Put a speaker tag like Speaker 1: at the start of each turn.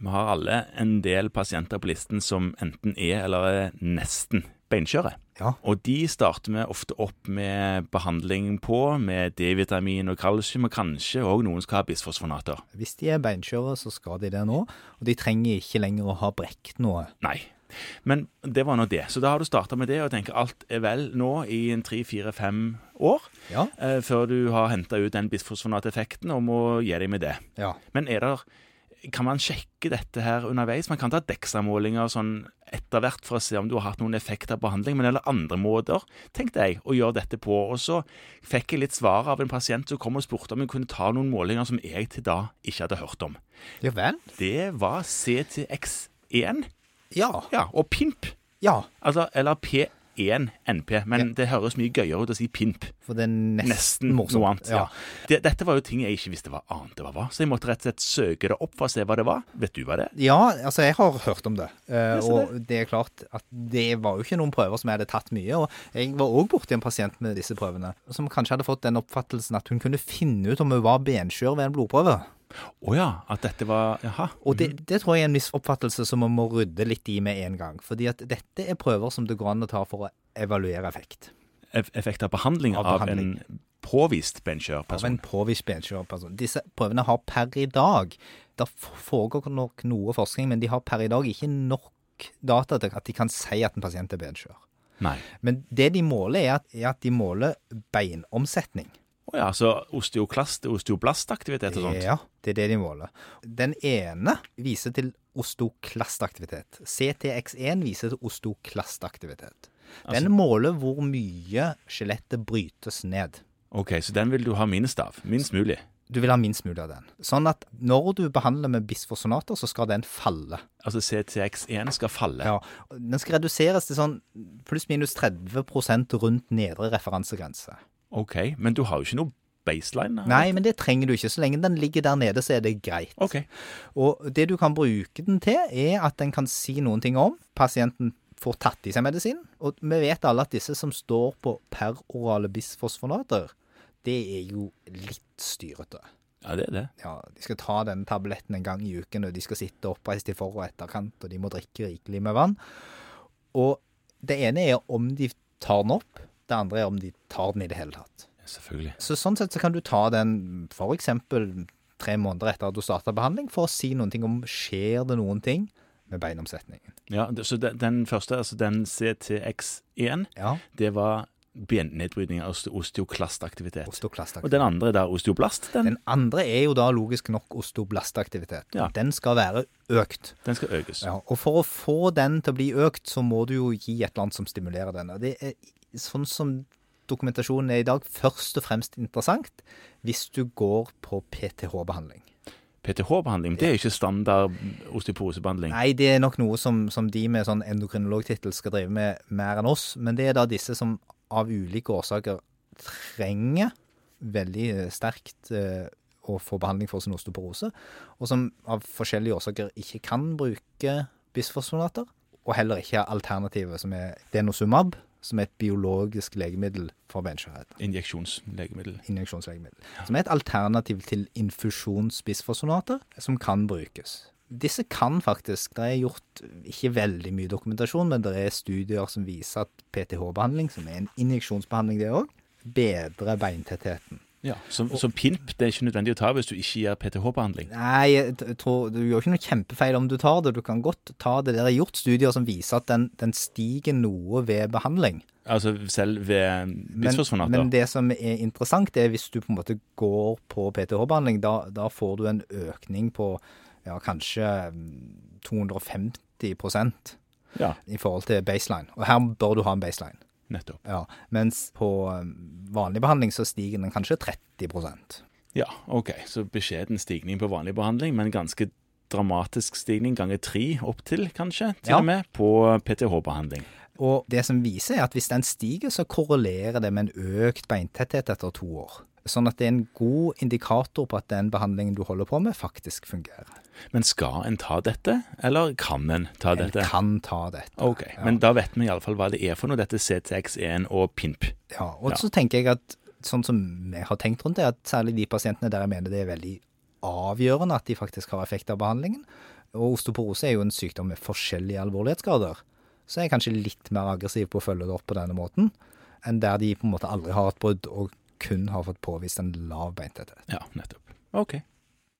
Speaker 1: Vi har alle en del pasienter på listen som enten er eller er nesten beinskjøre.
Speaker 2: Ja.
Speaker 1: Og de starter vi ofte opp med behandling på, med D-vitamin og kalsium, og kanskje òg noen skal ha bisfosfonater.
Speaker 2: Hvis de er beinskjøre, så skal de det nå, og de trenger ikke lenger å ha brekt noe.
Speaker 1: Nei. Men det var nå det. Så da har du starta med det og tenker alt er vel nå i en tre-fire-fem år.
Speaker 2: Ja.
Speaker 1: Eh, før du har henta ut den bisfosfonateffekten og må gi deg med det.
Speaker 2: Ja.
Speaker 1: Men er der, kan man sjekke dette her underveis? Man kan ta DEXA-målinger sånn etter hvert for å se om du har hatt noen effekt av behandling, men eller andre måter, tenkte jeg, å gjøre dette på. Og så fikk jeg litt svar av en pasient som kom og spurte om hun kunne ta noen målinger som jeg til da ikke hadde hørt om.
Speaker 2: Ja vel?
Speaker 1: Det var CTX1
Speaker 2: Ja.
Speaker 1: ja, og PIMP.
Speaker 2: Ja.
Speaker 1: Altså, eller P1NP, men det høres mye gøyere ut å si PIMP.
Speaker 2: For det er nesten,
Speaker 1: Nesten
Speaker 2: morsomt.
Speaker 1: noe annet. Ja. Det, dette var jo ting jeg ikke visste hva annet det var, så jeg måtte rett og slett søke det opp for å se hva det var. Vet du hva det er?
Speaker 2: Ja, altså jeg har hørt om det. eh,
Speaker 1: Ja, så
Speaker 2: og det er klart at det var jo ikke noen prøver som jeg hadde tatt mye. Og jeg var òg borti en pasient med disse prøvene, som kanskje hadde fått den oppfattelsen at hun kunne finne ut om hun var benskjør ved en blodprøve.
Speaker 1: Å ja, at dette var Jaha.
Speaker 2: Og det,
Speaker 1: Mhm.
Speaker 2: det tror jeg er en misoppfattelse som vi må rydde litt i med en gang. Fordi at dette er prøver som det går an å ta for å evaluere effekt.
Speaker 1: Eff effekt av behandling
Speaker 2: Av
Speaker 1: av,
Speaker 2: behandling.
Speaker 1: en påvist
Speaker 2: Av en
Speaker 1: benskjørperson.
Speaker 2: påvist benskjørperson. Disse prøvene har per i dag Det foregår nok noe forskning, men de har per i dag ikke nok data til at de kan si at en pasient er benskjør.
Speaker 1: Nei.
Speaker 2: Men det de måler, er at, er at de måler beinomsetning.
Speaker 1: Å ja, så osteoklast, osteoblastaktivitet og sånt.
Speaker 2: Ja, det er det de måler. Den ene viser til ostoklastaktivitet. CTX1 viser til ostoklastaktivitet. Den måler hvor mye skjelettet brytes ned.
Speaker 1: Ok, så den vil du ha minst av. Minst mulig.
Speaker 2: Du vil ha minst mulig av den. Sånn at når du behandler med bisfosfonater, så skal den falle.
Speaker 1: Altså CTX1 skal falle.
Speaker 2: Ja, Den skal reduseres til sånn pluss-minus 30 rundt nedre referansegrense.
Speaker 1: Ok, men du har jo ikke noe baseline?
Speaker 2: Nei, men det trenger du ikke. Så lenge den ligger der nede, så er det greit.
Speaker 1: Ok.
Speaker 2: Og det du kan bruke den til, er at den kan si noen ting om pasienten får tatt i seg medisin. Og vi vet alle at disse som står på perorale bisfosfonater, det er jo litt styrete.
Speaker 1: Ja, det er det.
Speaker 2: Ja, De skal ta den tabletten en gang i uken, og de skal sitte oppreist i for- og etterkant, og de må drikke rikelig med vann. Og det ene er om de tar den opp, det andre er om de tar den i det hele tatt.
Speaker 1: Selvfølgelig.
Speaker 2: Så sånn sett så kan du ta den f.eks. tre måneder etter at du starta behandling, for å si noen ting om skjer det noen ting med beinomsetningen.
Speaker 1: Ja, det- Så den- den første, altså den CTX1,
Speaker 2: Ja.
Speaker 1: det var bennedbrytning av oste- osteoklastaktivitet. Og
Speaker 2: Osteoklastaktivitet.
Speaker 1: den andre der, osteoblast, den,
Speaker 2: Den andre er jo da logisk nok osteoblastaktivitet.
Speaker 1: Ja.
Speaker 2: Den skal være økt.
Speaker 1: den skal økes.
Speaker 2: Ja, og for å få den til å bli økt, så må du jo gi et eller annet som stimulerer den. Og det er sånn som dokumentasjonen er i dag, først og fremst interessant hvis du går på PTH-behandling.
Speaker 1: PTH-behandling, det er ikke standard osteoporosebehandling.
Speaker 2: Nei, det er nok noe som, som de med sånn endokrinologtittel skal drive med mer enn oss. Men det er da disse som av ulike årsaker trenger veldig eh, sterkt eh, å få behandling for sin osteoporose, og som av forskjellige årsaker ikke kan bruke bisfosfonater, og heller ikke alternativet som er denosumab, som er et biologisk legemiddel for benskjørhet
Speaker 1: Injeksjonslegemiddel.
Speaker 2: injeksjonslegemiddel. Som er et alternativ til infusjonsbisfosfonater, som kan brukes. Disse kan faktisk Det er gjort ikke veldig mye dokumentasjon, men det er studier som viser at PTH-behandling, som er en injeksjonsbehandling det òg, bedrer beintettheten.
Speaker 1: Ja. Som, som PIMP, det er ikke nødvendig å ta hvis du ikke gir PTH-behandling.
Speaker 2: Nei, jeg t- tror, du gjør ikke noe kjempefeil om du tar det. Du kan godt ta det. Det er gjort studier som viser at den, den stiger noe ved behandling.
Speaker 1: Altså selv ved
Speaker 2: Men,
Speaker 1: bisfosfonater.
Speaker 2: men det som er interessant, det er hvis du på en måte går på PTH-behandling, da, da får du en økning på ja, kanskje mm, 250 i
Speaker 1: Ja,
Speaker 2: forhold til baseline. Og her bør du ha en baseline.
Speaker 1: nettopp.
Speaker 2: Ja. Mens på mm, vanlig behandling så stiger den kanskje 30
Speaker 1: Ja, OK. Så beskjeden stigning på vanlig behandling, men ganske dramatisk stigning ganger tre opp til, kanskje, til
Speaker 2: Ja.
Speaker 1: og med, på PTH-behandling.
Speaker 2: Og det som viser er at hvis den stiger, så korrelerer det med en økt beintetthet etter to år. Sånn at det er en god indikator på at den behandlingen du holder på med, faktisk fungerer.
Speaker 1: Men skal en ta dette, eller kan en ta
Speaker 2: En
Speaker 1: dette?
Speaker 2: kan ta dette.
Speaker 1: OK. Men da vet vi iallfall hva det er for noe, dette CTX1 E og PIMP.
Speaker 2: Ja, og så tenker jeg at sånn som jeg har tenkt rundt det, at særlig de pasientene der jeg mener det er veldig avgjørende at de faktisk har effekt av behandlingen, Og osteoporose er jo en sykdom med forskjellige alvorlighetsgrader. Så jeg er kanskje litt mer aggressiv på å følge det opp på denne måten, enn der de på en måte aldri har hatt brudd og kun har fått påvist en lav beintetthet.
Speaker 1: Ja, nettopp. OK.